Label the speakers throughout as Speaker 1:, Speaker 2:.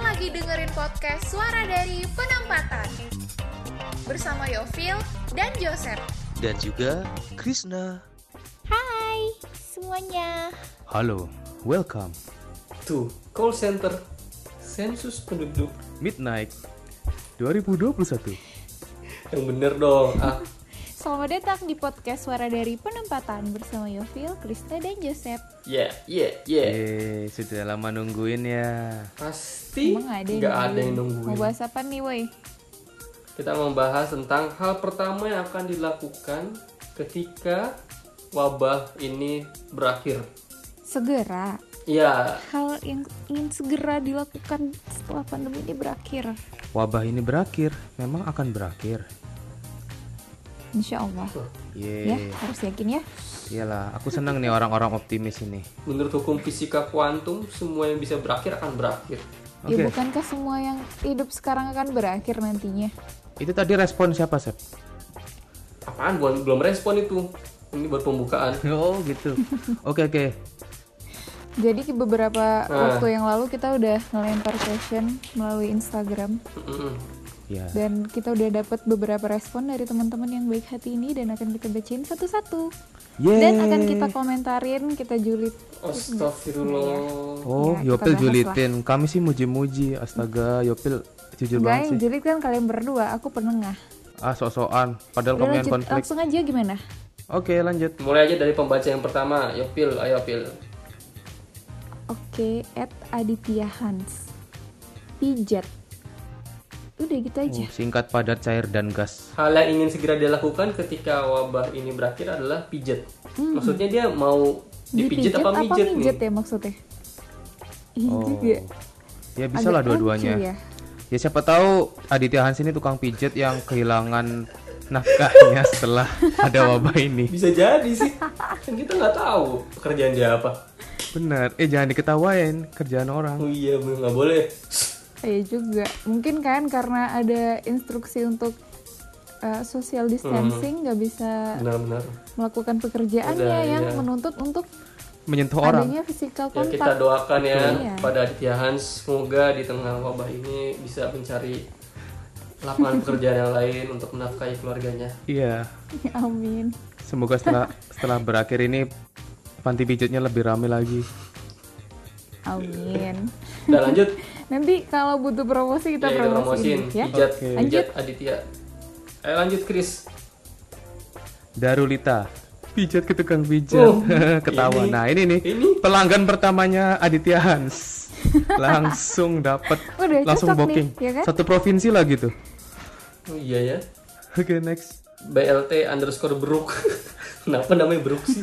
Speaker 1: lagi dengerin podcast Suara dari Penampatan bersama Yovil dan Joseph.
Speaker 2: dan juga Krishna.
Speaker 3: Hai semuanya.
Speaker 4: Halo, welcome
Speaker 5: 2. Call center Sensus penduduk
Speaker 4: Midnight 2021.
Speaker 5: Yang bener dong ah,
Speaker 3: Selamat datang di podcast Suara dari Penempatan bersama Yovil, Krista dan Joseph.
Speaker 5: Yeah, yeah, yeah
Speaker 3: Iya.
Speaker 4: Eh, sudah lama nungguin ya.
Speaker 5: Pasti
Speaker 3: Emang ada
Speaker 5: nggak ada yang
Speaker 3: Mau
Speaker 5: nungguin
Speaker 3: bahas apa nih, woi?
Speaker 5: Kita membahas tentang hal pertama yang akan dilakukan Ketika wabah ini berakhir
Speaker 3: Segera.
Speaker 5: Ya,
Speaker 3: Hal yang ingin segera dilakukan setelah pandemi ini berakhir.
Speaker 4: Wabah ini berakhir, memang akan berakhir.
Speaker 3: Insya Allah. Ya,
Speaker 4: Ye,
Speaker 3: harus yakin ya.
Speaker 4: iyalah, aku senang nih orang-orang optimis ini.
Speaker 5: menurut hukum fisika kuantum Semua yang bisa berakhir akan berakhir
Speaker 3: Ya
Speaker 4: Oke.
Speaker 3: bukankah semua yang hidup sekarang akan berakhir nantinya?
Speaker 4: Itu tadi respon siapa, Sep?
Speaker 5: Apaan? Belum, belum respon itu Ini buat pembukaan
Speaker 4: Oh, gitu. Oke, oke.
Speaker 3: Jadi
Speaker 4: Nah.
Speaker 3: beberapa waktu yang lalu kita udah ngelempar question melalui Instagram
Speaker 5: Mm-mm.
Speaker 4: Ya.
Speaker 3: dan kita udah dapat beberapa respon dari teman-teman yang baik hati ini dan akan kita bacain satu-satu
Speaker 4: Yeay.
Speaker 3: dan akan kita komentarin kita julid
Speaker 5: Astagfirullah
Speaker 4: Oh,
Speaker 3: Ya, kita
Speaker 4: Yopil
Speaker 3: bahas
Speaker 4: julitin. Kami sih muji-muji. Astaga, Yopil
Speaker 3: Enggak,
Speaker 4: jujur Iya banget
Speaker 3: yang
Speaker 4: sih.
Speaker 3: julid kan kalian berdua aku penengah
Speaker 4: Ah, sok-sokan. Padahal
Speaker 3: Udah
Speaker 4: kamu yang
Speaker 3: lanjut,
Speaker 4: konflik.
Speaker 3: langsung aja gimana
Speaker 4: Oke, lanjut.
Speaker 3: iya.
Speaker 5: Mulai aja dari pembaca yang pertama Yopil, ayo Yopil
Speaker 3: oke at Aditya Hans pijat udah gitu aja
Speaker 4: Oh, singkat, padat, cair, dan gas.
Speaker 5: Hal yang ingin segera dia lakukan ketika wabah ini berakhir adalah pijet.
Speaker 3: Hmm.
Speaker 5: Maksudnya dia mau dipijit, apa mijet nih?
Speaker 3: ya maksudnya Iya
Speaker 4: Oh.
Speaker 3: juga.
Speaker 4: Ya bisa
Speaker 3: Agak
Speaker 4: lah
Speaker 3: lucu
Speaker 4: dua-duanya.
Speaker 3: ya.
Speaker 4: Ya. siapa tahu Aditya Hans ini tukang pijet yang kehilangan nafkahnya setelah ada wabah ini.
Speaker 5: Bisa jadi sih. Kan kita nggak tahu pekerjaan dia apa.
Speaker 4: Bener. Eh jangan diketawain kerjaan orang.
Speaker 5: Oh iya, bener, nggak boleh.
Speaker 3: Iya juga. Mungkin kan karena ada instruksi untuk eh, social distancing nggak bisa
Speaker 5: Benar-benar.
Speaker 3: melakukan pekerjaannya
Speaker 5: Hmm. Udah,
Speaker 3: yang
Speaker 5: iya.
Speaker 3: menuntut untuk
Speaker 4: Menyentuh orang.
Speaker 3: adanya physical
Speaker 5: Ya kita
Speaker 3: contact.
Speaker 5: doakan ya
Speaker 3: Iya.
Speaker 5: pada Aditya Hans semoga di tengah wabah ini bisa mencari lapangan pekerjaan yang lain untuk menafkahi keluarganya.
Speaker 4: Iya.
Speaker 3: Ya, Amin.
Speaker 4: Semoga setelah setelah berakhir ini panti pijatnya lebih rame lagi.
Speaker 3: Amin.
Speaker 5: Dan lanjut
Speaker 3: Nanti kalau butuh promosi
Speaker 5: ya,
Speaker 3: kita
Speaker 5: kita promosiin
Speaker 3: promosiin ya.
Speaker 5: pijat,
Speaker 4: Oke.
Speaker 5: pijat Aditya. Eh lanjut Chris.
Speaker 4: Darulita pijat ke tukang pijat
Speaker 5: Oh,
Speaker 4: ketawa.
Speaker 5: ini,
Speaker 4: nah ini nih
Speaker 5: ini.
Speaker 4: pelanggan pertamanya Aditya Hans langsung dapat
Speaker 3: Udah
Speaker 4: langsung
Speaker 3: cocok
Speaker 4: booking
Speaker 3: nih, ya kan?
Speaker 4: satu provinsi lah gitu.
Speaker 5: Oh iya ya.
Speaker 4: Oke next.
Speaker 5: BLT underscore Brook Kenapa namanya Brook sih?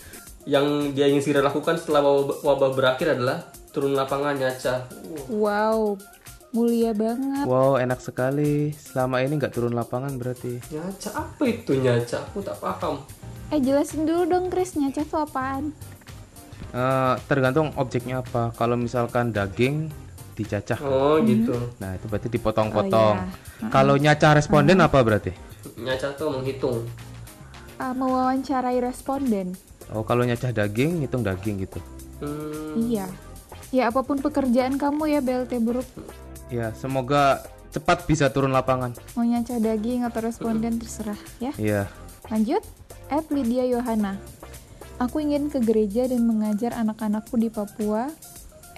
Speaker 5: Yang dia ingin segera lakukan setelah wabah, wabah berakhir adalah turun lapangan nyaca. Uh,
Speaker 3: Wow, mulia banget.
Speaker 4: Wow, enak sekali. Selama ini nggak turun lapangan berarti.
Speaker 5: nyaca apa itu nyaca? Aku tak paham.
Speaker 3: Eh jelasin dulu dong Chris nyaca tuh apaan?
Speaker 4: Eh, tergantung objeknya apa. Kalau misalkan daging dicacah.
Speaker 5: Oh gitu.
Speaker 4: Nah, itu berarti dipotong-potong.
Speaker 3: Oh, iya.
Speaker 4: Kalau nyacah responden apa berarti?
Speaker 5: Nyaca tuh menghitung.
Speaker 3: Ah, mewawancarai responden.
Speaker 4: Oh, kalau nyacah daging, hitung daging gitu.
Speaker 5: Hmm,
Speaker 3: Iya. Ya apapun pekerjaan kamu ya BLT buruk
Speaker 4: Ya, semoga cepat bisa turun lapangan.
Speaker 3: mau nyaca daging atau responden terserah ya.
Speaker 4: Iya.
Speaker 3: Lanjut, at Lydia Yohana. Aku ingin ke gereja dan mengajar anak-anakku di Papua.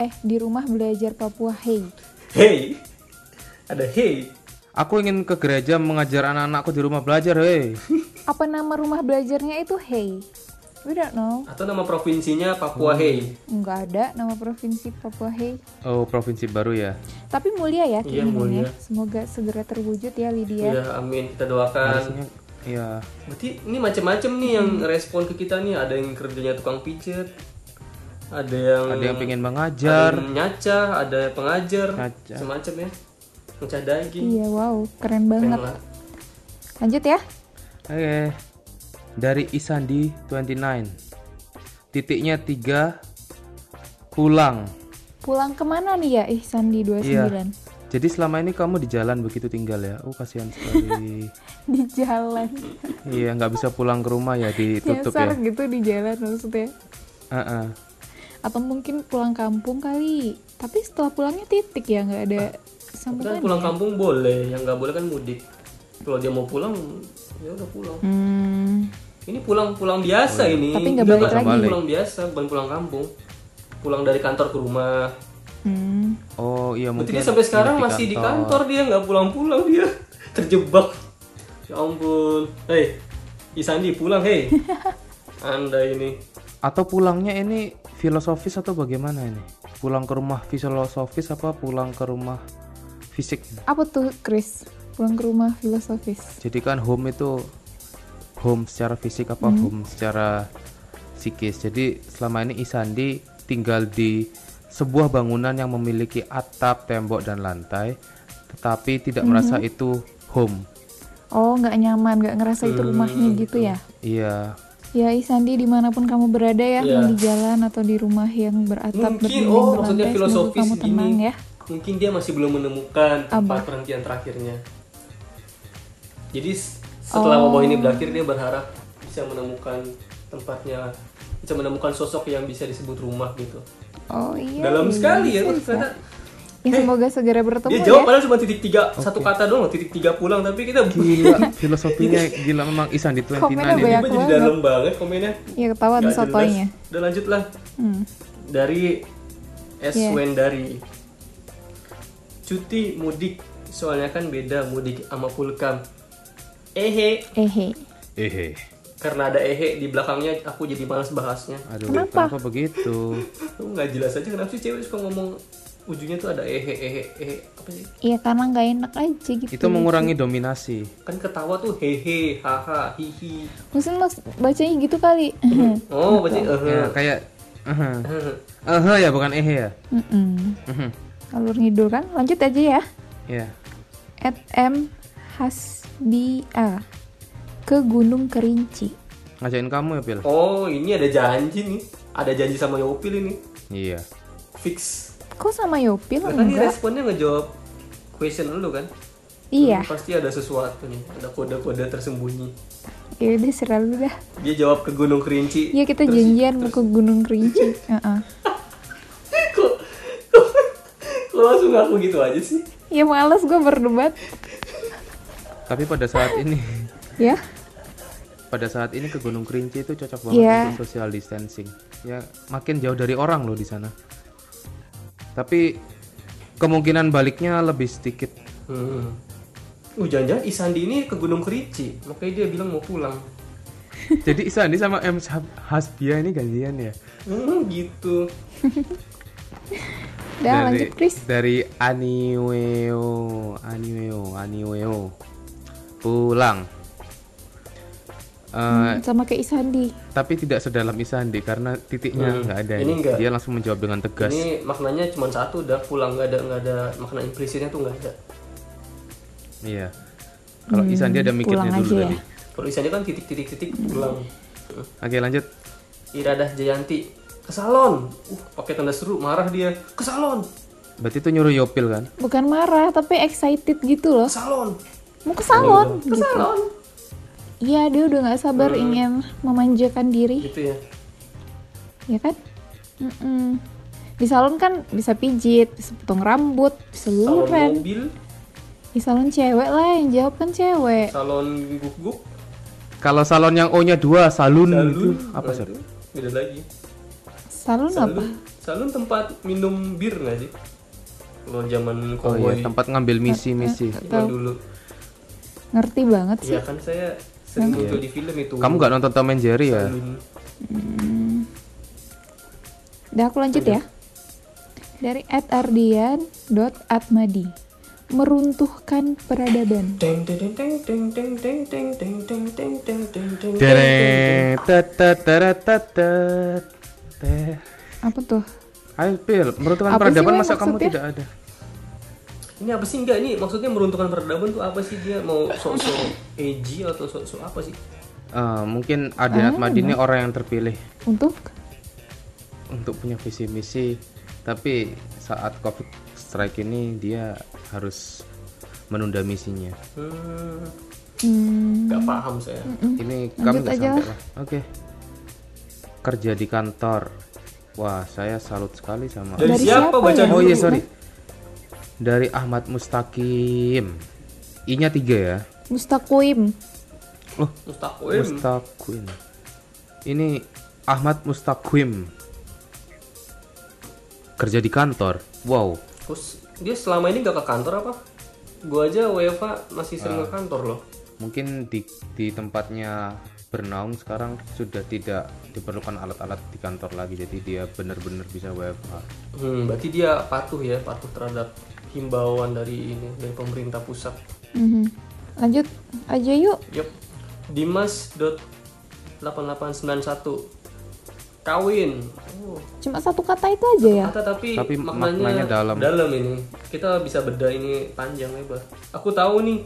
Speaker 3: Eh, di rumah belajar Papua. Hey,
Speaker 5: Hey, ada hey.
Speaker 4: Aku ingin ke gereja mengajar anak-anakku di rumah belajar, hei.
Speaker 3: apa nama rumah belajarnya itu Hey? We don't know.
Speaker 5: Atau nama provinsinya
Speaker 4: Hmm.
Speaker 5: Papua Hey.
Speaker 3: Nggak ada nama provinsi Papua Hey.
Speaker 4: Oh, provinsi baru ya.
Speaker 3: Tapi mulia ya
Speaker 5: Iya,
Speaker 3: keinginannya.
Speaker 5: mulia.
Speaker 3: Semoga segera terwujud ya Lydia.
Speaker 5: Ya amin kita doakan.
Speaker 4: Harusnya iya. Hmm.
Speaker 5: Berarti ini macam-macam nih yang respon ke kita nih. Ada yang kerjanya tukang pijet. Ada yang
Speaker 4: Ada yang pengen
Speaker 5: ada
Speaker 4: mengajar.
Speaker 5: yang nyaca, ada pengajar,
Speaker 4: Ngaca.
Speaker 5: semacam ya, ngecah daging.
Speaker 3: Iya, wow, keren banget.
Speaker 5: Pengen lah.
Speaker 3: Lanjut ya.
Speaker 4: Oke. Dari Isandi 29. Titiknya 3 pulang.
Speaker 3: Pulang kemana nih ya Ihsan di 29?
Speaker 4: Iya. Jadi selama ini kamu di jalan begitu tinggal ya. Oh, kasihan sekali.
Speaker 3: Di jalan.
Speaker 4: iya, nggak bisa pulang ke rumah ya ditutup
Speaker 3: nyasar
Speaker 4: ya.
Speaker 3: gitu di jalan maksudnya
Speaker 4: Heeh.
Speaker 3: atau mungkin pulang kampung kali Tapi setelah pulangnya titik ya, nggak ada
Speaker 5: Tapi kan
Speaker 3: sambungan.
Speaker 5: pulang kampung boleh, yang nggak boleh kan mudik. Kalau dia mau pulang, ya udah pulang.
Speaker 3: Hmm,
Speaker 5: Ini pulang pulang biasa ini.
Speaker 3: Tapi nggak
Speaker 5: Udah
Speaker 3: balik
Speaker 5: nggak-
Speaker 4: lagi.
Speaker 5: Pulang biasa, bukan pulang kampung. Pulang dari kantor ke rumah.
Speaker 3: hmm.
Speaker 4: Oh iya
Speaker 5: Berarti
Speaker 4: mungkin.
Speaker 5: dia sampai sekarang
Speaker 4: nginep
Speaker 5: masih di kantor dia nggak pulang-pulang dia terjebak. Ya ampun. Hei, Isandi pulang hei. Anda ini.
Speaker 4: Atau pulangnya ini filosofis atau bagaimana ini? Pulang ke rumah filosofis apa pulang ke rumah fisik?
Speaker 3: Apa tuh, Chris? Pulang ke rumah filosofis.
Speaker 4: Jadi kan home itu home secara fisik apa home secara psikis. Jadi selama ini Isandi tinggal di sebuah bangunan yang memiliki atap, tembok dan lantai, tetapi tidak merasa itu home.
Speaker 3: Oh, nggak nyaman, nggak ngerasa
Speaker 5: Hmm,
Speaker 3: itu rumahnya gitu ya?
Speaker 4: Iya.
Speaker 3: Ya, Isandi dimanapun kamu berada ya,
Speaker 5: Iya.
Speaker 3: mau di jalan atau di rumah yang beratap
Speaker 5: Mungkin
Speaker 3: berdinding
Speaker 5: oh maksudnya
Speaker 3: berlantai, semoga
Speaker 5: filosofis
Speaker 3: kamu tenang
Speaker 5: gini.
Speaker 3: ya.
Speaker 5: Mungkin dia masih belum menemukan tempat
Speaker 3: Apa?
Speaker 5: perhentian terakhirnya. Jadi s- setelah
Speaker 3: Oh.
Speaker 5: wabah ini berakhir dia berharap bisa menemukan tempatnya, bisa menemukan sosok yang bisa disebut rumah gitu.
Speaker 3: Oh iya. iya,
Speaker 5: Dalam sekali ya, Eh,
Speaker 3: bisa, bisa.
Speaker 5: ternyata
Speaker 3: Ya, semoga segera bertemu
Speaker 5: dia
Speaker 3: ya.
Speaker 5: jawab padahal cuma titik tiga satu kata doang loh, titik tiga pulang tapi kita
Speaker 4: Gila, filosofinya gila memang Isandi 29
Speaker 3: Komennya banyak.
Speaker 4: ini.
Speaker 5: tiba jadi
Speaker 3: banget.
Speaker 5: dalam banget komennya
Speaker 3: Ya ketahuan
Speaker 5: Nggak
Speaker 3: sotoynya.
Speaker 5: jelas. udah lanjut lah
Speaker 3: Hmm.
Speaker 5: dari S
Speaker 3: Iya.
Speaker 5: Wendari cuti mudik soalnya kan beda mudik sama pulkam ehe
Speaker 3: Ehe.
Speaker 4: Ehe.
Speaker 5: karena ada ehe di belakangnya aku jadi malas bahasnya
Speaker 4: Aduh,
Speaker 3: Kenapa?
Speaker 4: kenapa begitu?
Speaker 5: Lu nggak jelas aja kenapa sih cewek suka ngomong ujungnya tuh ada ehe ehe ehe apa sih
Speaker 3: Iya karena nggak enak aja gitu.
Speaker 4: Itu mengurangi dominasi.
Speaker 5: kan ketawa tuh hehe haha hihi
Speaker 3: Mungkin mas bacanya gitu kali.
Speaker 5: oh berarti ehe
Speaker 4: Ya, kayak eh
Speaker 5: Ehe.
Speaker 4: ya bukan ehe ya.
Speaker 3: Mm-mm.
Speaker 4: Mhm.
Speaker 3: Mm-hmm. Alur ngidul kan. Lanjut aja ya.
Speaker 4: Iya.
Speaker 3: At M Hasbia ke Gunung Kerinci.
Speaker 4: Ngajakin kamu ya, Pil?
Speaker 5: oh ini ada janji nih ada janji sama Yopil ini
Speaker 4: Iya.
Speaker 5: fix
Speaker 3: Kok sama Yopil
Speaker 5: Nah, tadi
Speaker 3: enggak?
Speaker 5: responnya ngejawab question lu kan?
Speaker 3: Iya.
Speaker 5: Pasti ada sesuatu nih, ada kode-kode tersembunyi.
Speaker 3: Ya udah serah lu dah.
Speaker 5: Dia jawab ke Gunung Kerinci.
Speaker 3: Iya kita janjian mau ke Gunung Kerinci. Heeh.
Speaker 5: Kok, kok, kok langsung ngaku gitu aja sih?
Speaker 3: Ya males gue berdebat.
Speaker 4: Tapi pada saat ini,
Speaker 3: Ya.
Speaker 4: pada saat ini ke Gunung Kerinci itu cocok banget
Speaker 3: Iya.
Speaker 4: untuk social distancing. Ya, makin jauh dari orang loh di sana. Tapi kemungkinan baliknya lebih sedikit.
Speaker 5: Hmm. Uh, jangan-jangan Isandi ini ke Gunung Kerinci, makanya dia bilang mau pulang.
Speaker 4: Jadi Isandi sama M Hasbia ini gantian ya.
Speaker 5: Hmm, gitu.
Speaker 3: Dah lanjut Chris.
Speaker 4: Dari Aniweo, Aniweo, Aniweo. Pulang. Eh,
Speaker 3: Hmm, sama kayak Isandi.
Speaker 4: tapi tidak sedalam Isandi karena titiknya nggak ada.
Speaker 5: Hmm. Ini nggak.
Speaker 4: Dia langsung menjawab dengan tegas.
Speaker 5: Ini maknanya cuma satu, udah pulang nggak ada nggak ada makna implisitnya tuh nggak ada.
Speaker 4: Iya. Kalau Isandi ada mikirnya
Speaker 3: pulang
Speaker 4: dulu
Speaker 3: aja ya.
Speaker 4: tadi.
Speaker 5: Kalau Isandi kan titik-titik-titik pulang.
Speaker 4: Oke, lanjut.
Speaker 5: Iradah Jayanti ke salon. Uh, pakai tanda seru marah dia. Ke salon.
Speaker 4: Berarti itu nyuruh Yopil kan?
Speaker 3: Bukan marah, tapi excited gitu loh.
Speaker 5: Ke salon.
Speaker 3: Mau ke salon. Gitu.
Speaker 5: Ke salon. Hmm.
Speaker 3: Iya, dia udah nggak sabar ingin memanjakan diri,
Speaker 5: Gitu ya.
Speaker 3: ya kan? Mm-mm. Di salon kan bisa pijit, bisa potong rambut, bisa
Speaker 5: Salon
Speaker 3: luren.
Speaker 5: mobil,
Speaker 3: Di salon cewek lah, yang jawab kan cewek.
Speaker 5: salon guguk,
Speaker 4: Kalau salon yang O-nya dua, salon, Hmm, itu
Speaker 5: salon.
Speaker 4: apa
Speaker 5: Nah,
Speaker 4: sih?
Speaker 5: itu Beda lagi.
Speaker 3: Salon apa?
Speaker 5: Salon, salon tempat minum bir nggak sih? Kalau zaman
Speaker 4: Oh iya,
Speaker 5: koboi
Speaker 4: tempat ngambil misi-misi.
Speaker 5: zaman dulu.
Speaker 3: Ngerti banget sih.
Speaker 5: Iya kan saya sering muncul di film itu.
Speaker 4: Iya. Kamu nggak nonton Tom and Jerry ya?
Speaker 5: Salon.
Speaker 3: Udah aku lanjut ya. Dari @ardian.atmadi. Meruntuhkan peradaban.
Speaker 5: Teng teng teng teng teng teng teng teng teng teng teng teng teng.
Speaker 4: Dereng, tet, tet, teret, tet, tet, teh.
Speaker 3: Apa tuh?
Speaker 4: Ayo Pil, meruntuhkan
Speaker 3: Apa sih,
Speaker 4: peradaban
Speaker 3: Wei,
Speaker 4: masa kamu
Speaker 3: maksudnya?
Speaker 4: tidak ada?
Speaker 5: Ini apa sih enggak ini maksudnya meruntuhkan peradaban tuh apa sih dia mau sok-sok edgy atau sok-sok apa sih?
Speaker 4: Eh, mungkin
Speaker 3: Ah.
Speaker 4: Adian Atmadi ini orang yang terpilih
Speaker 3: Untuk?
Speaker 4: untuk punya visi misi, tapi saat COVID strike ini dia harus menunda misinya.
Speaker 5: Hmm,
Speaker 3: Hmm,
Speaker 5: nggak paham saya.
Speaker 4: Ini kami nggak
Speaker 3: aja
Speaker 4: sampai lah. Oke. Kerja di kantor. Wah, saya salut sekali sama.
Speaker 5: Dari,
Speaker 3: Dari
Speaker 5: siapa,
Speaker 3: siapa
Speaker 5: baca
Speaker 3: ya?
Speaker 5: dulu?
Speaker 4: Oh iya, sorry. Dari Ahmad Mustaqim. I-nya tiga ya.
Speaker 3: Mustaqim.
Speaker 4: Loh,
Speaker 5: Mustaqim.
Speaker 4: Mustaqim. Ini Ahmad Mustaqim. Kerja di kantor. Wow.
Speaker 5: Terus dia selama ini gak ke kantor apa? Gua aja WFA masih
Speaker 4: Ah.
Speaker 5: sering ke kantor loh.
Speaker 4: Mungkin di di tempatnya bernaung sekarang sudah tidak diperlukan alat-alat di kantor lagi. Jadi dia benar-benar bisa WFH.
Speaker 5: Hmm, berarti dia patuh ya, patuh terhadap himbauan dari ini dari pemerintah pusat.
Speaker 3: Mhm. Lanjut aja yuk.
Speaker 5: Yup. Dimas.8891 kawin. Oh,
Speaker 3: Cuma satu kata itu aja ya.
Speaker 5: kata tapi,
Speaker 4: Tapi
Speaker 5: maknanya,
Speaker 4: maknanya dalam.
Speaker 5: ini. Kita bisa beda ini panjang lebar. Aku tahu nih.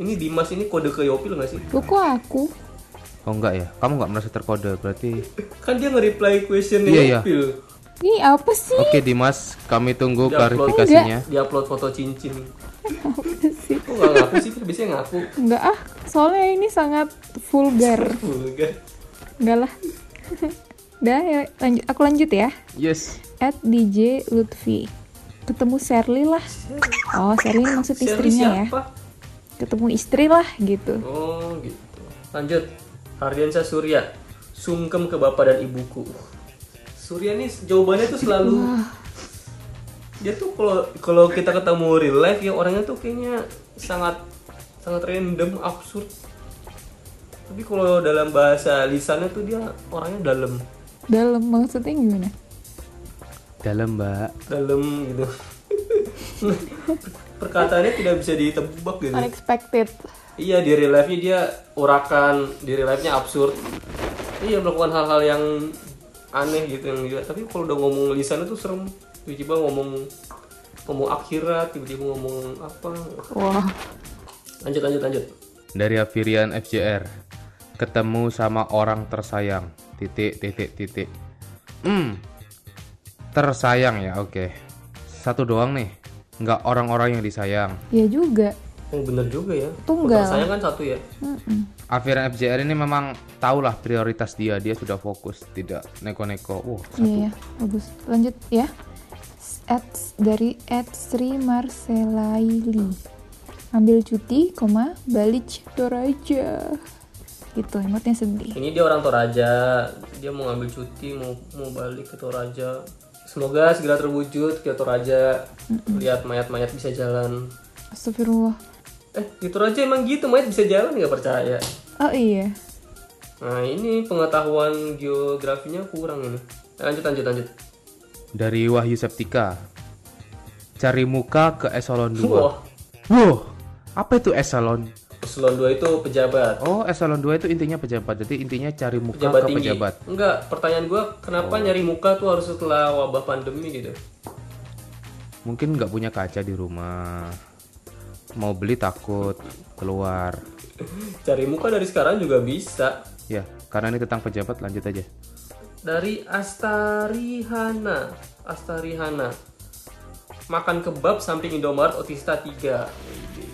Speaker 5: Ini Dimas ini kode ke Yopil nggak sih?
Speaker 3: Lu kok aku?
Speaker 4: Oh enggak ya? Kamu nggak merasa terkode berarti?
Speaker 5: Kan dia nge-reply question
Speaker 4: Iya, iya.
Speaker 5: Yopil.
Speaker 3: Ini apa sih?
Speaker 4: Oke Dimas, kami tunggu
Speaker 5: Dia upload.
Speaker 4: klarifikasinya.
Speaker 5: Dia upload foto cincin.
Speaker 3: Apa sih?
Speaker 5: Kok nggak ngaku sih? Kan Biasanya ngaku.
Speaker 3: Enggak ah, soalnya ini sangat vulgar.
Speaker 5: Vulgar.
Speaker 3: Enggak lah. Dah, ya, lanjut. Aku lanjut ya.
Speaker 4: Yes.
Speaker 3: At DJ Lutfi. Ketemu Sherly lah. Oh, Sherly ini maksud
Speaker 5: Sherly
Speaker 3: istrinya ya.
Speaker 5: siapa?
Speaker 3: Ketemu istri lah gitu.
Speaker 5: Oh gitu. Lanjut. Hardiansyah Surya. Sungkem ke bapak dan ibuku. Uh, Surya nih jawabannya tuh selalu
Speaker 3: Ah,
Speaker 5: dia tuh kalau kalau kita ketemu real life ya orangnya tuh kayaknya sangat sangat random absurd tapi kalau dalam bahasa lisannya tuh dia orangnya dalam
Speaker 3: Dalam maksudnya gimana?
Speaker 4: Dalam Mbak.
Speaker 5: dalam gitu perkataannya tidak bisa ditebak gitu
Speaker 3: Unexpected.
Speaker 5: Iya di real life-nya dia urakan, di real life-nya absurd. Iya melakukan hal-hal yang aneh gitu yang gila. Tapi kalau udah ngomong lisan itu serem. Tiba-tiba ngomong ngomong akhirat, tiba-tiba ngomong apa.
Speaker 3: Wah.
Speaker 5: Lanjut lanjut lanjut.
Speaker 4: Dari Avirian FJR. Ketemu sama orang tersayang. Titik titik titik. Hmm. Tersayang ya, oke. Satu doang nih. Nggak orang-orang yang disayang.
Speaker 3: Ya juga.
Speaker 5: Yang bener juga ya.
Speaker 3: Tunggal.
Speaker 5: Saya kan satu ya.
Speaker 4: Avirian FJR ini memang tahulah prioritas dia. Dia sudah fokus, tidak neko-neko. Wah,
Speaker 3: Iya, ya, bagus. Lanjut ya. Ads dari at Sri Marcelaili. Ambil cuti, koma, balik Toraja. Gitu, emotnya sedih.
Speaker 5: Ini dia orang Toraja. Dia mau ngambil cuti, mau mau balik ke Toraja. Semoga segera terwujud ke Toraja. Lihat mayat-mayat bisa jalan.
Speaker 3: Astagfirullah.
Speaker 5: Eh, di Toraja emang gitu mayat bisa jalan nggak percaya?
Speaker 3: Oh iya.
Speaker 5: Nah ini pengetahuan geografinya kurang ini. Eh, Lanjut lanjut lanjut.
Speaker 4: Dari Wahyu Septika. Cari muka ke eselon 2.
Speaker 5: Wah,
Speaker 4: Wah, apa itu eselon?
Speaker 5: eselon 2 itu pejabat.
Speaker 4: Oh, eselon 2 itu intinya pejabat. Jadi intinya cari muka
Speaker 5: Pejabat
Speaker 4: ke
Speaker 5: tinggi.
Speaker 4: pejabat.
Speaker 5: Enggak, pertanyaan gua kenapa nyari muka tuh harus setelah wabah pandemi gitu?
Speaker 4: Mungkin nggak punya kaca di rumah. Mau beli takut keluar.
Speaker 5: Cari muka dari sekarang juga bisa.
Speaker 4: Ya, karena ini tentang pejabat lanjut aja.
Speaker 5: Dari Astarihana. Astarihana. Makan kebab samping Indomaret Otista 3.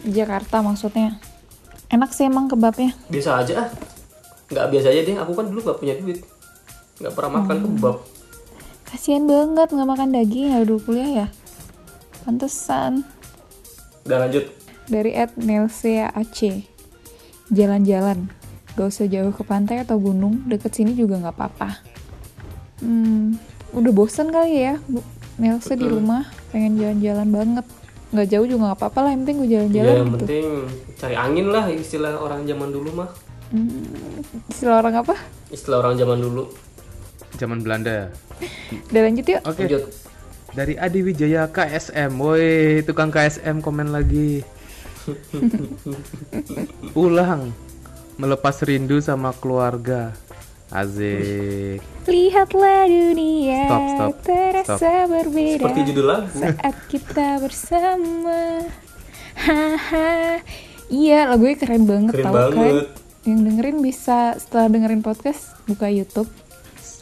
Speaker 3: Jakarta maksudnya. Enak sih emang kebabnya.
Speaker 5: Biasa aja ah. Enggak biasa aja deh, aku kan dulu nggak punya duit. Nggak pernah makan kebab.
Speaker 3: Kasian banget nggak makan daging ya dulu kuliah ya. Pantesan.
Speaker 5: Udah lanjut.
Speaker 3: Dari at Nelsea AC. Jalan-jalan. Gak usah jauh ke pantai atau gunung, deket sini juga nggak apa-apa. Hmm, udah bosen kali ya, Bu Nelsa di rumah, pengen jalan-jalan banget. Nggak jauh juga nggak apa-apa lah, yang penting gue
Speaker 5: Ya,
Speaker 3: jalan-jalan
Speaker 5: yang
Speaker 3: gitu.
Speaker 5: penting cari angin lah istilah orang zaman dulu mah.
Speaker 3: Istilah orang apa?
Speaker 5: Istilah orang zaman dulu.
Speaker 4: Zaman Belanda.
Speaker 3: Udah lanjut yuk.
Speaker 4: Oke.
Speaker 5: Lanjut.
Speaker 4: Dari Adi Wijaya KSM. Woi, tukang KSM komen lagi. Ulang. Melepas rindu sama keluarga. Azik.
Speaker 3: Lihatlah dunia
Speaker 4: Stop, stop,
Speaker 3: terasa berbeda.
Speaker 5: Seperti judul lagu.
Speaker 3: saat kita bersama haha iya lagunya keren banget
Speaker 5: Keren
Speaker 3: tau
Speaker 5: banget.
Speaker 3: kan yang dengerin bisa setelah dengerin podcast buka YouTube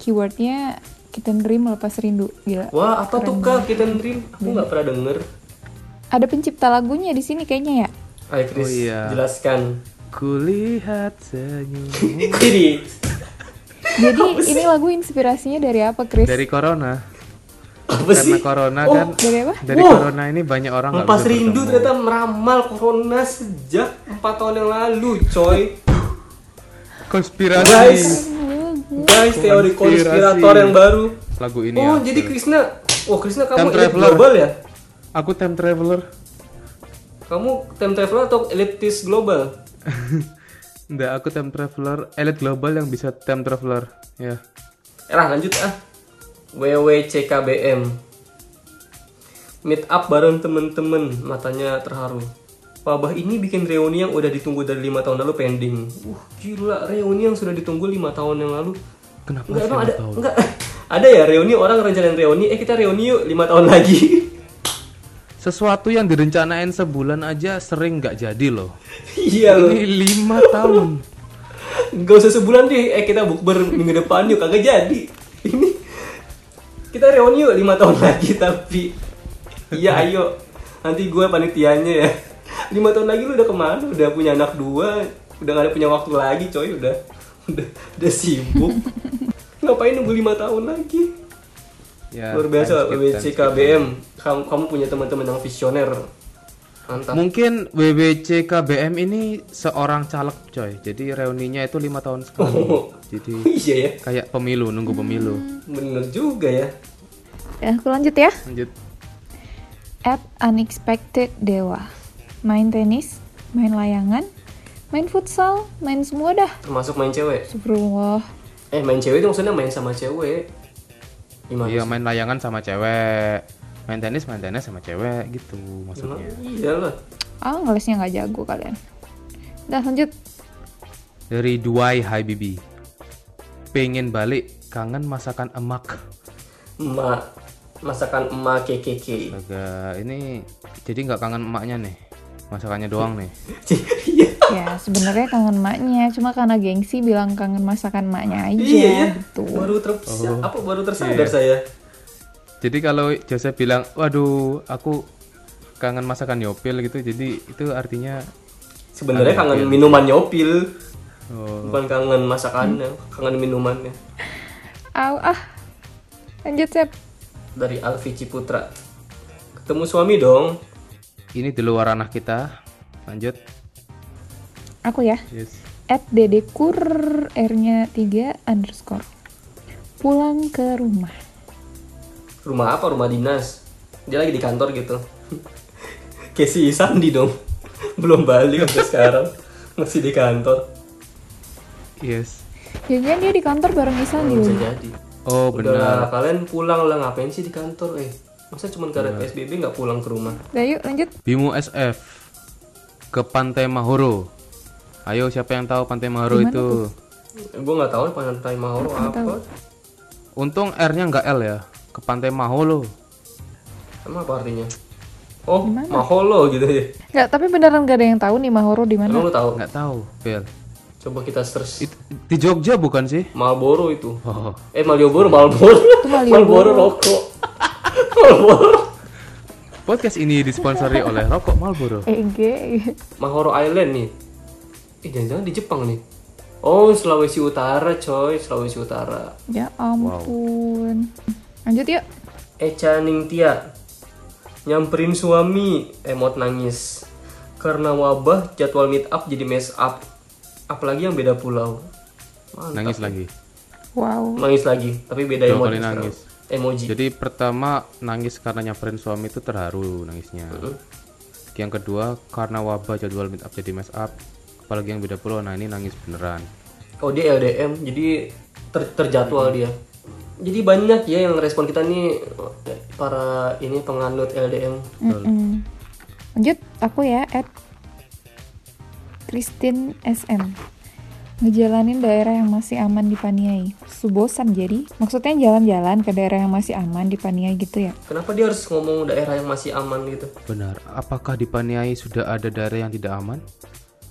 Speaker 3: keywordnya kita dream melepas rindu gila
Speaker 5: Wah, apa tuh Kak Kita Dream? Aku nggak pernah denger.
Speaker 3: ada pencipta lagunya di sini kayaknya ya
Speaker 5: Ayo
Speaker 4: Oh,
Speaker 5: Chris,
Speaker 4: iya. Hmm.
Speaker 5: jelaskan.
Speaker 4: Kulihat senyum.
Speaker 5: Jadi,
Speaker 3: Jadi ini lagu inspirasinya dari apa, Chris?
Speaker 4: Dari corona.
Speaker 5: Apa
Speaker 4: Karena
Speaker 5: sih?
Speaker 4: corona
Speaker 5: Oh,
Speaker 4: kan
Speaker 3: Dari apa?
Speaker 4: dari
Speaker 5: Wow.
Speaker 4: corona ini banyak orang nggak
Speaker 5: Melepas
Speaker 4: bisa
Speaker 5: rindu
Speaker 4: bertemu.
Speaker 5: ternyata meramal corona sejak 4 tahun yang lalu, coy.
Speaker 4: konspirasi.
Speaker 5: Guys, guys teori
Speaker 4: Konspirasi.
Speaker 5: konspirator yang baru.
Speaker 4: Lagu ini
Speaker 5: Oh,
Speaker 4: ya.
Speaker 5: jadi Krisna, oh Krisna
Speaker 4: Time
Speaker 5: kamu elit
Speaker 4: traveler.
Speaker 5: global ya?
Speaker 4: Aku time traveler.
Speaker 5: Kamu time traveler atau elitis global?
Speaker 4: Enggak, aku time traveler, elite global yang bisa time traveler. Ya.
Speaker 5: Eh, Rah, lanjut ah. WWCKBM. Meet up bareng temen-temen, matanya terharu. Wabah ini bikin reuni yang udah ditunggu dari lima tahun lalu pending. Uh, gila, reuni yang sudah ditunggu lima tahun yang lalu.
Speaker 4: Kenapa
Speaker 5: Enggak,
Speaker 4: lima
Speaker 5: emang ada,
Speaker 4: tahun?
Speaker 5: enggak. Ada ya reuni orang rencanain reuni, eh kita reuni yuk lima tahun lagi.
Speaker 4: Sesuatu yang direncanain sebulan aja sering nggak jadi loh.
Speaker 5: iya loh,
Speaker 4: Ini lima tahun.
Speaker 5: Gak usah sebulan deh, eh kita bukber minggu depan yuk, kagak jadi. Ini kita reuni yuk lima tahun lagi tapi iya ayo nanti gue panitianya ya lima tahun lagi lu udah kemana udah punya anak dua udah gak ada punya waktu lagi coy udah udah udah sibuk ngapain nunggu lima tahun lagi
Speaker 4: Ya,
Speaker 5: luar
Speaker 4: time skip,
Speaker 5: biasa
Speaker 4: time skip. kan.
Speaker 5: WCKBM kamu kamu punya teman-teman yang visioner mantap
Speaker 4: Mungkin WWC KBM ini seorang caleg coy. Jadi reuninya itu lima tahun sekali.
Speaker 5: Oh.
Speaker 4: Jadi
Speaker 5: iya ya
Speaker 4: kayak pemilu nunggu pemilu.
Speaker 5: bener juga ya
Speaker 3: Ya, aku lanjut ya.
Speaker 4: Lanjut.
Speaker 3: At Unexpected Dewa. Main tenis, main layangan, main futsal, main semua dah.
Speaker 5: termasuk main cewek
Speaker 3: Subhanallah.
Speaker 5: Eh main cewek itu maksudnya main sama cewek Gimana?
Speaker 4: Iya
Speaker 5: sih?
Speaker 4: main layangan sama cewek. Main tenis main tenis sama cewek gitu
Speaker 5: Emang
Speaker 4: maksudnya.
Speaker 5: Iya lah
Speaker 3: Ah, ngelesnya nggak jago kalian. Dah, lanjut.
Speaker 4: Dari Dwight Habibi. Pengen balik kangen masakan emak.
Speaker 5: Emak Masakan emak
Speaker 4: Iya.
Speaker 5: KKK
Speaker 4: Agak ini jadi nggak kangen emaknya nih. Masakannya doang nih.
Speaker 5: Iya
Speaker 3: Ya, sebenarnya kangen maknya, cuma karena gengsi bilang kangen masakan maknya aja
Speaker 5: Iya ya
Speaker 3: gitu.
Speaker 5: Baru ter
Speaker 4: Oh.
Speaker 5: apa,
Speaker 4: Iya,
Speaker 5: baru tersadar saya
Speaker 4: Jadi kalau Joseph bilang, "Waduh, aku kangen masakan Yopil gitu." Jadi itu artinya
Speaker 5: Sebenarnya
Speaker 4: Kangen
Speaker 5: kangen
Speaker 4: Yopil.
Speaker 5: minuman Yopil
Speaker 4: iya. oh, Hmm.
Speaker 5: Bukan kangen masakannya Kangen minumannya
Speaker 3: Au, ah. Lanjut, Sep.
Speaker 5: Dari Alfi Ciputra Ketemu suami dong
Speaker 4: ini di luar ranah kita. Lanjut.
Speaker 3: Aku ya.
Speaker 4: Yes.
Speaker 3: At dedekur, R-nya 3 underscore. Pulang ke rumah.
Speaker 5: Rumah apa? Rumah dinas Dia lagi di kantor gitu Kayak si Sandi dong Belum balik sampai sekarang Masih di kantor
Speaker 4: Yes.
Speaker 3: Jangan dia di kantor bareng Isan
Speaker 5: Belum
Speaker 3: dulu.
Speaker 5: bisa jadi
Speaker 4: Oh,
Speaker 5: Kan Udah
Speaker 4: benar.
Speaker 5: kalian pulang lah ngapain sih di kantor eh masa cuma karena PSBB nggak pulang ke rumah
Speaker 3: Dah Nah, yuk lanjut.
Speaker 4: Bimu SF ke Pantai Mahoro. Ayo siapa yang tahu Pantai Mahoro itu?
Speaker 5: Eh, gua nggak tahu pantai Mahoro apa
Speaker 4: Untung R-nya nggak L ya. Ke Pantai Maholo.
Speaker 5: emang apa artinya oh Maholo gitu ya
Speaker 3: Nggak, tapi beneran gak ada yang tahu nih Mahoro di mana.
Speaker 5: emang lu tahu
Speaker 4: Nggak tahu, Bel.
Speaker 5: coba kita search
Speaker 4: It- di Jogja bukan sih?
Speaker 5: Malboro itu
Speaker 4: Oh,
Speaker 5: eh Malioboro Malboro Malboro rokok Malboro
Speaker 4: podcast ini disponsori oleh Rokok Marlboro.
Speaker 3: EG.
Speaker 5: Mahoro Island nih eh jangan-jangan di Jepang nih oh Sulawesi Utara coy Sulawesi Utara
Speaker 3: Ya ampun. Lanjut yuk.
Speaker 5: Echa Ningtia nyamperin suami emot nangis karena wabah jadwal meet up jadi mess up apalagi yang beda pulau Mantap.
Speaker 4: Nangis lagi.
Speaker 3: Wow.
Speaker 5: nangis lagi tapi beda
Speaker 4: Dua
Speaker 5: emoji
Speaker 4: kali
Speaker 5: sekarang.
Speaker 4: nangis.
Speaker 5: emoji
Speaker 4: Jadi pertama nangis karena nyamperin suami itu terharu nangisnya. Yang kedua karena wabah jadwal meet up jadi mess up. Apalagi yang beda pulau, nah ini nangis beneran.
Speaker 5: oh dia LDM jadi ter- terjadwal dia jadi banyak ya yang respon kita nih eh, para ini penganut LDM
Speaker 3: Mm-mm. Lanjut aku ya at Christine SM. Ngejalanin daerah yang masih aman dipaniai. Subosan jadi. Maksudnya jalan-jalan ke daerah yang masih aman dipaniai gitu ya.
Speaker 5: kenapa dia harus ngomong daerah yang masih aman gitu
Speaker 4: Benar. Apakah di Paniai sudah ada daerah yang tidak aman?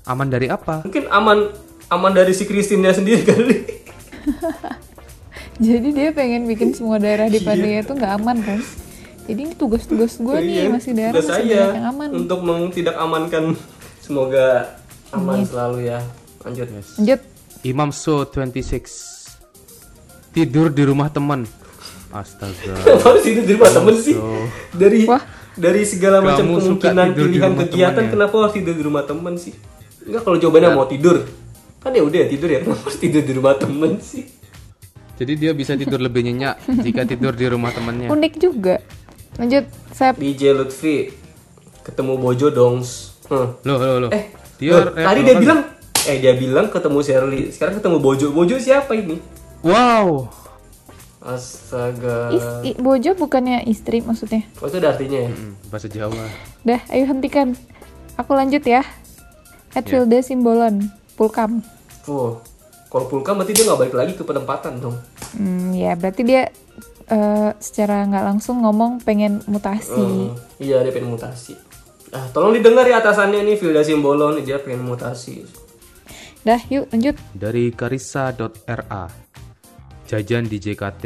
Speaker 4: Aman dari apa?
Speaker 5: mungkin aman aman dari si Kristinnya sendiri kali
Speaker 3: Jadi dia pengen bikin semua daerah
Speaker 5: Iya.
Speaker 3: di Paniai itu nggak aman kan? Jadi ini tugas-tugas gue nih masih daerah
Speaker 5: Iya. Tugas
Speaker 3: masih
Speaker 5: saya
Speaker 3: banyak yang aman.
Speaker 5: untuk mengtidak amankan
Speaker 4: Iya.
Speaker 5: semoga aman selalu ya lanjut
Speaker 3: Lanjut.
Speaker 4: Imam So 26 tidur di rumah teman astaga
Speaker 5: Kenapa harus tidur di rumah temen sih? Dari
Speaker 3: Wah.
Speaker 5: dari segala macam
Speaker 4: Kamu suka
Speaker 5: kemungkinan
Speaker 4: tidur di
Speaker 5: pilihan
Speaker 4: rumah
Speaker 5: kegiatan
Speaker 4: temen ya?
Speaker 5: kenapa harus tidur di rumah temen sih? Enggak kalau
Speaker 4: Iya.
Speaker 5: jawabannya mau tidur. Kan ya udah ya tidur ya. Kenapa harus tidur di rumah temen sih?
Speaker 4: jadi dia bisa tidur lebih nyenyak jika tidur di rumah temannya
Speaker 5: Oh.
Speaker 3: Unik juga. Lanjut, Sep.
Speaker 5: DJ Lutfi ketemu Bojo dong. Hmm.
Speaker 4: loh loh loh
Speaker 5: Eh,
Speaker 4: dia
Speaker 5: loh,
Speaker 4: reak
Speaker 5: tadi dia
Speaker 4: apa?
Speaker 5: bilang eh dia bilang ketemu Shirley. Sekarang ketemu Bojo. Bojo siapa ini?
Speaker 4: wow
Speaker 5: Astaga.
Speaker 3: Is, i- Bojo bukannya istri maksudnya.
Speaker 5: Oh, itu ada artinya ya?
Speaker 4: Hmm, bahasa Jawa
Speaker 3: Dah, ayo hentikan. Aku lanjut ya.
Speaker 5: Iya.
Speaker 3: Atfilda Simbolon, Pulkam.
Speaker 5: Oh. Kalau pulka berarti dia nggak balik lagi ke penempatan dong.
Speaker 3: Hmm, ya berarti dia eh, secara nggak langsung ngomong pengen
Speaker 5: Hmm,
Speaker 3: mutasi.
Speaker 5: iya dia pengen mutasi. Ah, tolong didengar ya atasannya nih Vilda Simbolon dia pengen mutasi.
Speaker 3: Dah, yuk lanjut.
Speaker 4: dari karissa.ra jajan di JKT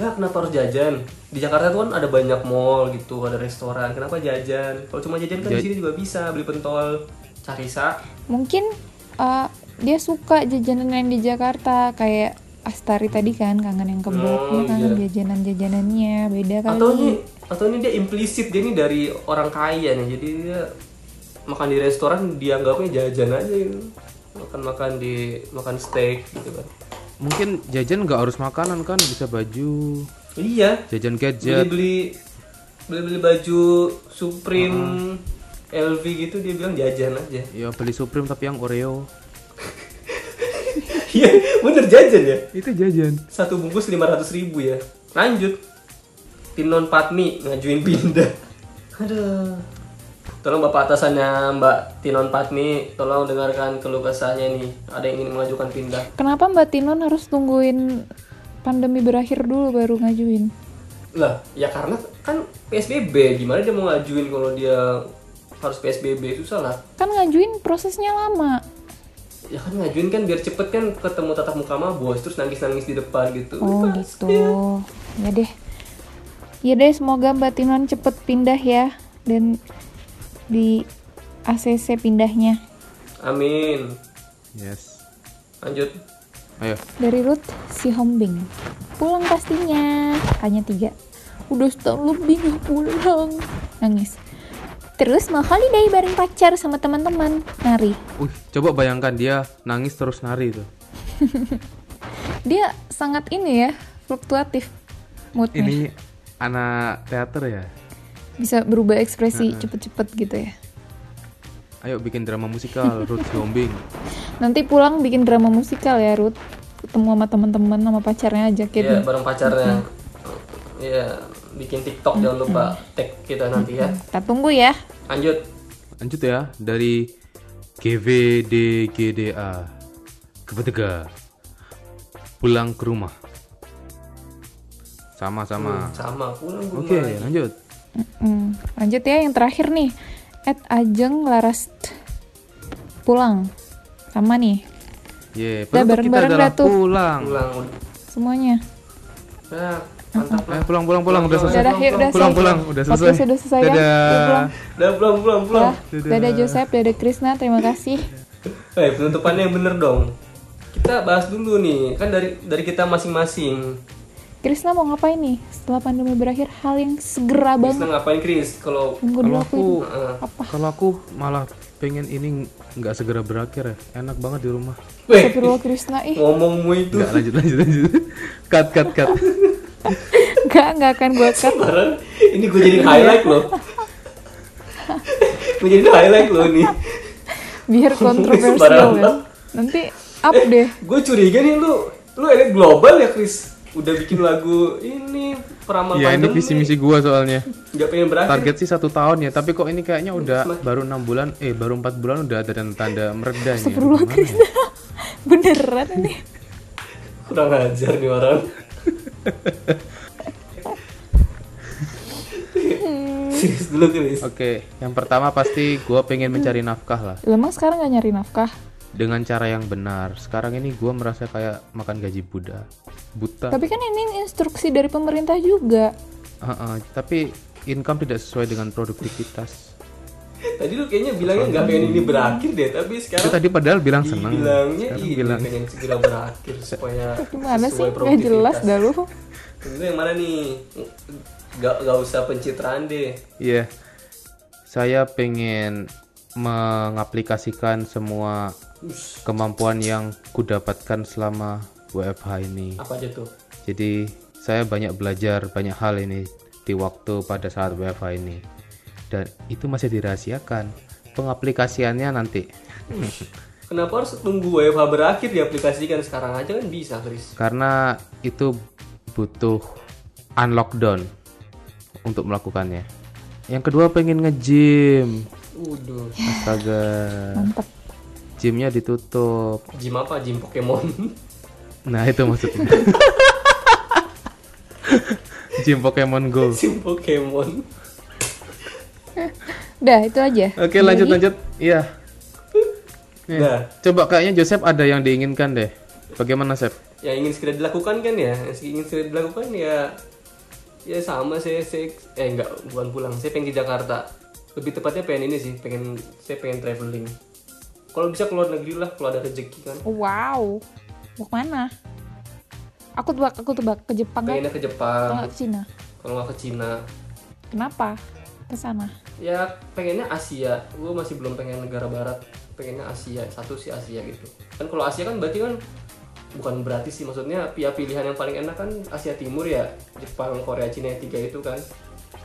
Speaker 5: Lah kenapa harus jajan? Di Jakarta tuh kan ada banyak mall gitu, ada restoran. Kenapa jajan? Kalau cuma jajan kan di sini juga bisa beli pentol, carisa.
Speaker 3: Mungkin eh, dia suka jajanan yang di Jakarta kayak Astari tadi kan, kangen yang kebab,
Speaker 5: Oh,
Speaker 3: dia kangen
Speaker 5: iya.
Speaker 3: jajanan-jajanannya beda kan kali.
Speaker 5: Atau ini atau ini dia implisit dia ini dari orang kaya nih. Jadi dia makan di restoran dianggapnya jajan aja gitu. Makan-makan di makan steak gitu kan.
Speaker 4: mungkin jajan nggak harus makanan kan bisa baju
Speaker 5: Iya,
Speaker 4: jajan gadget
Speaker 5: beli beli beli beli baju Supreme LV gitu dia bilang jajan aja
Speaker 4: ya beli Supreme tapi yang Oreo
Speaker 5: iya bener jajan ya
Speaker 4: itu jajan
Speaker 5: satu bungkus 500.000 ribu ya lanjut tim non patmi ngajuin pindah aduh tolong bapak atasannya mbak Tinon Patmi tolong dengarkan keluh kesahnya nih ada yang ingin mengajukan pindah
Speaker 3: Kenapa Mbak Tinon harus tungguin pandemi berakhir dulu baru ngajuin?
Speaker 5: lah ya karena kan PSBB gimana dia mau ngajuin kalau dia harus PSBB susah lah
Speaker 3: Kan ngajuin prosesnya lama.
Speaker 5: ya kan ngajuin kan biar cepet kan ketemu tatap muka mah bos terus nangis nangis di depan gitu
Speaker 3: Oh
Speaker 5: Pas.
Speaker 3: gitu. Ya deh. Ya deh, semoga Mbak Tinon cepet pindah ya dan di ACC pindahnya.
Speaker 5: amin
Speaker 4: yes
Speaker 5: lanjut
Speaker 4: ayo
Speaker 3: Dari Ruth si Hombing. Pulang pastinya. Tanya tiga. Udah setahun lebih gak pulang. Nangis. Terus mau holiday bareng pacar sama teman-teman. Nari.
Speaker 4: uh coba bayangkan dia nangis terus nari itu
Speaker 3: Dia sangat ini ya, fluktuatif moodnya.
Speaker 4: ini anak teater ya
Speaker 3: Bisa berubah ekspresi cepet-cepet gitu ya.
Speaker 4: ayo bikin drama musikal Ruth Gombing
Speaker 3: Nanti pulang bikin drama musikal ya, Ruth. Ketemu sama teman-teman sama pacarnya aja
Speaker 5: ya
Speaker 3: kayak
Speaker 5: bareng pacarnya ya bikin tiktok jangan lupa tag kita nanti ya
Speaker 3: Kita tunggu ya.
Speaker 5: lanjut
Speaker 4: lanjut ya dari GVDGDA Kepetega pulang ke rumah sama-sama
Speaker 5: sama pulang gue
Speaker 4: oke lanjut
Speaker 3: Hmm, Lanjut ya yang terakhir nih. At Ajeng Laras pulang. Sama nih
Speaker 4: ye
Speaker 3: Udah,
Speaker 4: penutup kita
Speaker 3: bareng-bareng
Speaker 4: adalah
Speaker 3: dah tuh.
Speaker 4: pulang
Speaker 5: pulang
Speaker 3: semuanya.
Speaker 5: nah mantap lah
Speaker 4: eh pulang pulang pulang udah
Speaker 3: Udah,
Speaker 4: selesai
Speaker 3: dah, yuk, udah
Speaker 4: pulang
Speaker 3: selesai.
Speaker 4: pulang udah selesai
Speaker 3: Podcast udah selesai ya. Yuk,
Speaker 4: dadah
Speaker 3: pulang.
Speaker 5: udah pulang pulang pulang
Speaker 3: Ya, dadah Joseph, dadah Krisna, terima kasih.
Speaker 5: eh penutupannya yang bener dong kita bahas dulu nih kan dari dari kita masing-masing
Speaker 3: Krisna mau ngapain nih setelah pandemi berakhir? Hal yang segera
Speaker 5: Krisna
Speaker 3: banget.
Speaker 5: ngapain Kris kalau eh,
Speaker 3: Tunggu dulu
Speaker 4: kalau
Speaker 3: aku.
Speaker 4: aku eh,
Speaker 3: ini. Apa?
Speaker 4: kalau aku malah pengen ini nggak segera berakhir ya enak banget di rumah
Speaker 5: Weh,
Speaker 3: Astagfirullah Krisna, ih
Speaker 5: ngomongmu itu
Speaker 4: nggak lanjut lanjut lanjut cut cut cut
Speaker 3: enggak, enggak akan gua cut.
Speaker 5: Parah, ini gue jadi highlight loh. gue jadi highlight loh nih.
Speaker 3: Biar kontroversial
Speaker 5: Sembarangan.
Speaker 3: ya. Nanti up deh.
Speaker 5: Gue curiga nih lu, lu elit global ya Chris. Udah bikin lagu ini peramal
Speaker 4: ya ini
Speaker 5: pandemi.
Speaker 4: visi misi gua soalnya
Speaker 5: Gak pengen berakhir.
Speaker 4: target sih satu tahun ya tapi kok ini kayaknya udah
Speaker 5: Semakin-
Speaker 4: baru enam bulan eh baru empat bulan udah ada tanda mereda nih
Speaker 3: Astagfirullah
Speaker 4: Gimana ya?
Speaker 3: Krisna. Beneran ini.
Speaker 5: Kurang ajar nih orang.
Speaker 3: Hmm.
Speaker 5: Serius dulu Chris.
Speaker 4: oke yang pertama pasti gua pengen mencari nafkah lah
Speaker 3: Lah, Emang sekarang nggak nyari nafkah?
Speaker 4: dengan cara yang benar sekarang ini gua merasa kayak makan gaji Buddha buta
Speaker 3: Tapi kan ini instruksi dari pemerintah juga.
Speaker 4: Heeh, tapi income tidak sesuai dengan produktivitas
Speaker 5: Tadi lu kayaknya bilangnya nggak pengen ini berakhir deh, tapi
Speaker 4: Itu
Speaker 5: sekarang
Speaker 4: tadi padahal bilang senang.
Speaker 5: bilangnya
Speaker 4: Sekarang
Speaker 5: iya
Speaker 4: bilang
Speaker 5: pengen segera berakhir supaya
Speaker 3: Gimana sih?
Speaker 5: sesuai
Speaker 3: Gak jelas dah lu.
Speaker 5: Itu yang mana nih? Gak, gak usah pencitraan deh.
Speaker 4: Iya. Saya pengen mengaplikasikan semua
Speaker 5: Ush,
Speaker 4: kemampuan yang kudapatkan selama WFH ini.
Speaker 5: apa aja tuh?
Speaker 4: Jadi saya banyak belajar banyak hal ini di waktu pada saat WFH ini. Dan itu masih dirahasiakan. Pengaplikasiannya nanti.
Speaker 5: Kenapa harus tunggu WFH berakhir diaplikasikan sekarang aja kan bisa, Chris?
Speaker 4: Karena itu butuh unlockdown untuk melakukannya. Yang kedua pengen nge-gym.
Speaker 5: Udah.
Speaker 4: Astaga.
Speaker 3: Mantep.
Speaker 4: Gymnya ditutup.
Speaker 5: Gym apa? Gym Pokemon.
Speaker 4: Nah itu maksudnya. Gym Pokemon Go.
Speaker 5: Gym Pokemon.
Speaker 3: Dah, itu aja.
Speaker 4: Oke lanjut lanjut. Iya. Nih,
Speaker 5: Nah.
Speaker 4: Coba kayaknya Joseph ada yang diinginkan deh. Bagaimana Sep?
Speaker 5: yang Ya, ingin segera dilakukan kan ya yang ingin segera dilakukan ya ya sama saya saya eh nggak bukan pulang saya pengen ke Jakarta lebih tepatnya pengen ini sih pengen saya pengen traveling kalau bisa keluar negeri lah kalau ada rezeki kan
Speaker 3: Wow. Mau kemana? Aku tebak, aku tebak ke Jepang kan?
Speaker 5: pengennya ke
Speaker 3: Atau nggak
Speaker 5: Jepang
Speaker 3: ke Cina?
Speaker 5: kalau nggak ke Cina
Speaker 3: Kenapa? Ke sana.
Speaker 5: ya pengennya Asia gue masih belum pengen negara barat pengennya Asia satu sih Asia gitu kan kalau Asia kan berarti kan bukan berarti sih maksudnya pia pilihan yang paling enak kan Asia Timur ya Jepang Korea Cina tiga itu kan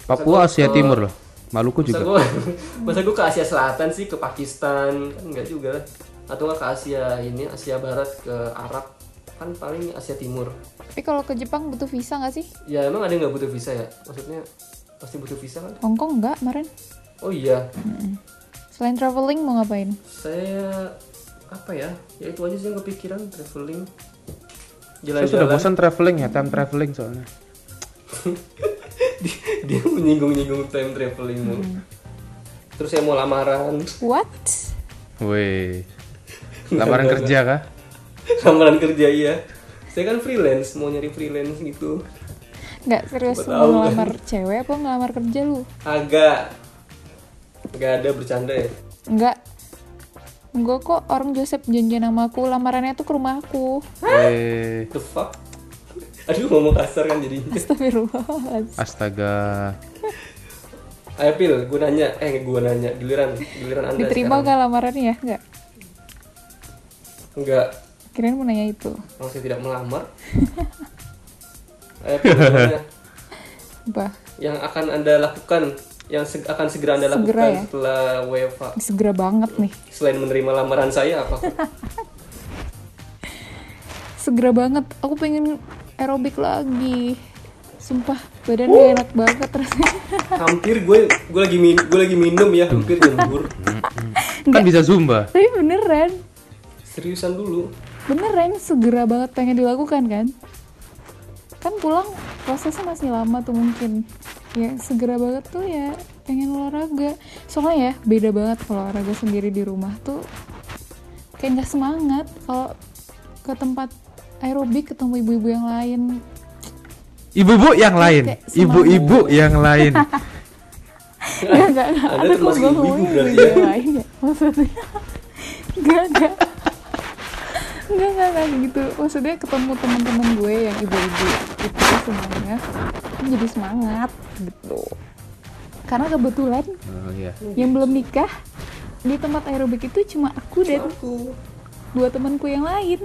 Speaker 4: Papua
Speaker 5: Masa gua
Speaker 4: Asia
Speaker 5: ke-
Speaker 4: Timur loh. Maluku
Speaker 5: masa
Speaker 4: juga.
Speaker 5: gue masa gue ke Asia Selatan sih ke Pakistan kan enggak juga lah atau nggak ke Asia ini Asia Barat ke Arab kan paling Asia Timur
Speaker 3: Tapi kalau ke Jepang butuh visa nggak sih?
Speaker 5: ya emang ada yang nggak butuh visa ya maksudnya pasti butuh visa kan
Speaker 3: Hongkong nggak kemarin?
Speaker 5: oh iya
Speaker 3: Selain traveling mau ngapain?
Speaker 5: saya apa ya ya itu aja sih yang kepikiran traveling
Speaker 4: Saya sudah
Speaker 5: jalan-jalan
Speaker 4: bosan traveling ya, time traveling soalnya.
Speaker 5: dia menyinggung-nyinggung time traveling mulu. terus saya mau lamaran
Speaker 3: What?
Speaker 4: Weh. Lamaran kerja kah?
Speaker 5: lamaran kerja iya saya kan freelance mau nyari freelance gitu
Speaker 3: Nggak serius mau
Speaker 5: Gua tahu kan.
Speaker 3: ngelamar cewek apa ngelamar kerja lu?
Speaker 5: agak nggak ada bercanda ya
Speaker 3: Nggak. Enggak kok orang Joseph janjian sama aku lamarannya tuh ke rumah aku.
Speaker 4: Weh.
Speaker 5: the fuck aduh ngomong kasar kan jadinya
Speaker 3: Astagfirullahaladzim.
Speaker 4: Astaga.
Speaker 5: ayo pil gue nanya eh gue nanya giliran giliran anda
Speaker 3: Diterima
Speaker 5: sekarang.
Speaker 3: gak lamarannya ya? Enggak.
Speaker 5: enggak
Speaker 3: Kirain mau nanya itu.
Speaker 5: kalau saya tidak melamar ayo pil gimana?
Speaker 3: Bah,
Speaker 5: yang akan anda lakukan yang se- akan segera anda
Speaker 3: Segera
Speaker 5: lakukan
Speaker 3: ya?
Speaker 5: setelah WFA
Speaker 3: segera banget nih.
Speaker 5: selain menerima lamaran saya apa
Speaker 3: Segera banget. Aku pengen aerobik lagi. Sumpah, badan gak enak banget rasanya.
Speaker 5: hampir gue gue lagi min gue lagi minum ya hampir nyembur
Speaker 4: Kan bisa zumba.
Speaker 3: Tapi beneran,
Speaker 5: seriusan dulu
Speaker 3: beneran segera banget pengen dilakukan kan? Kan pulang prosesnya masih lama tuh mungkin. Ya segera banget tuh ya pengen olahraga. Soalnya ya beda banget kalau olahraga sendiri di rumah tuh kayak nggak semangat kalau ke tempat aerobik ketemu ibu-ibu yang lain
Speaker 4: Ibu-ibu yang lain,
Speaker 3: Kayak semangat.
Speaker 4: ibu-ibu yang lain.
Speaker 3: Enggak, enggak, enggak.
Speaker 5: Anda
Speaker 3: Aduh,
Speaker 5: termasuk
Speaker 3: gua
Speaker 5: ibu-ibu
Speaker 3: ngomongin
Speaker 5: berarti
Speaker 3: ibu-ibu
Speaker 5: ya?
Speaker 3: yang lain ya, Maksudnya. Enggak, enggak. Enggak, enggak, enggak gitu. Maksudnya ketemu teman-teman gue yang ibu-ibu itu semuanya jadi semangat gitu. Karena kebetulan
Speaker 4: Oh, iya.
Speaker 3: yang belum nikah di tempat aerobik itu cuma aku dan
Speaker 5: aku
Speaker 3: dua temanku yang lain.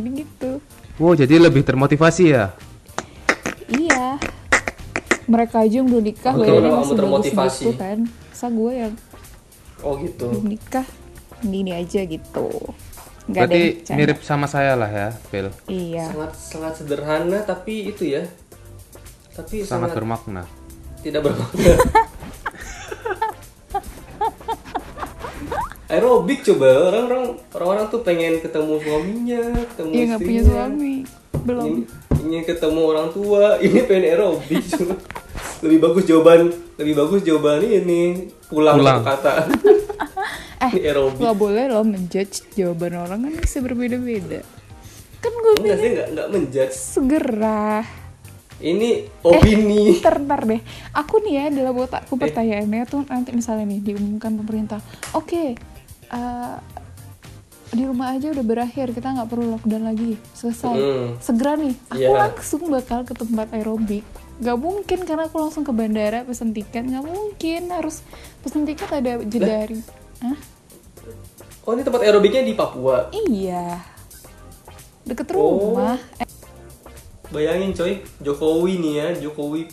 Speaker 3: Jadi gitu.
Speaker 4: Wow, jadi lebih termotivasi ya.
Speaker 3: Iya. Mereka aja yang belum nikah,
Speaker 5: Betul,
Speaker 3: badannya
Speaker 5: kamu
Speaker 3: masih bagus
Speaker 5: termotivasi.
Speaker 3: gitu kan. Masa gue yang
Speaker 5: oh gitu
Speaker 3: belum nikah ini aja gitu nggak ada yang
Speaker 4: Berarti
Speaker 3: bercanda.
Speaker 4: mirip sama saya lah ya, Phil.
Speaker 3: iya
Speaker 5: sangat sangat sederhana tapi itu ya tapi
Speaker 4: Sangat
Speaker 5: sangat,
Speaker 4: bermakna.
Speaker 5: tidak bermakna aerobik coba orang-orang orang-orang tuh pengen ketemu suaminya ketemu
Speaker 3: iya nggak punya
Speaker 5: istrinya.
Speaker 3: suami belum
Speaker 5: Ini- ingin ketemu orang tua ini pengen aerobik cuma lebih bagus jawaban lebih bagus jawaban ini pulang,
Speaker 4: Pulang.
Speaker 5: satu kata
Speaker 3: eh
Speaker 5: ini aerobik
Speaker 3: nggak boleh lo menjudge jawaban orang kan bisa berbeda-beda kan gue
Speaker 5: enggak saya enggak enggak menjudge
Speaker 3: segera
Speaker 5: Ini opini.
Speaker 3: Ntar, ntar deh. Aku nih ya dalam otakku pertanyaannya tuh nanti misalnya nih diumumkan pemerintah. Oke, eh, di rumah aja udah berakhir kita nggak perlu lockdown lagi selesai.
Speaker 5: Mm.
Speaker 3: Segera nih. Aku
Speaker 5: Iya.
Speaker 3: langsung bakal ke tempat aerobik. Gak mungkin karena aku langsung ke bandara pesen tiket. Gak mungkin harus pesen tiket ada jeda hari. Hah?
Speaker 5: Oh ini tempat aerobiknya di Papua.
Speaker 3: Iya. Deket
Speaker 5: Oh.
Speaker 3: rumah. Eh,
Speaker 5: Bayangin coy, Jokowi nih ya, Jokowi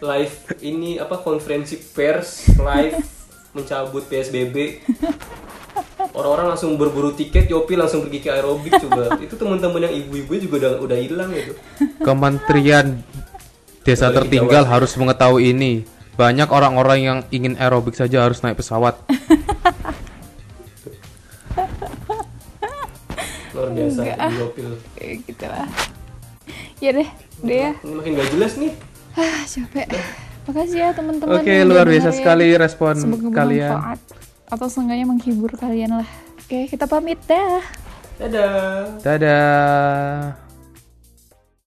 Speaker 5: live ini apa konferensi pers live mencabut PSBB. Orang-orang langsung berburu tiket, Yopi langsung pergi ke aerobik coba. Itu teman-teman yang ibu-ibu juga udah udah hilang gitu. itu.
Speaker 4: Kementerian Desa
Speaker 5: Apalagi
Speaker 4: Tertinggal
Speaker 5: Jawa.
Speaker 4: harus mengetahui ini. Banyak orang-orang yang ingin aerobik saja harus naik pesawat.
Speaker 5: Luar biasa,
Speaker 3: Enggak.
Speaker 5: Ibu Yopi. loh.
Speaker 3: kayak gitu lah. Ya deh, deh ya.
Speaker 5: Ini makin gak jelas nih.
Speaker 3: Ah, capek. Makasih ya teman-teman.
Speaker 4: Oke,
Speaker 3: yang
Speaker 4: luar
Speaker 3: udah
Speaker 4: biasa
Speaker 3: dengerin.
Speaker 4: sekali respon
Speaker 3: Semoga
Speaker 4: kalian.
Speaker 3: bermanfaat atau seenggaknya menghibur kalian lah. Oke, kita pamit dah.
Speaker 5: Dadah.
Speaker 4: Dadah.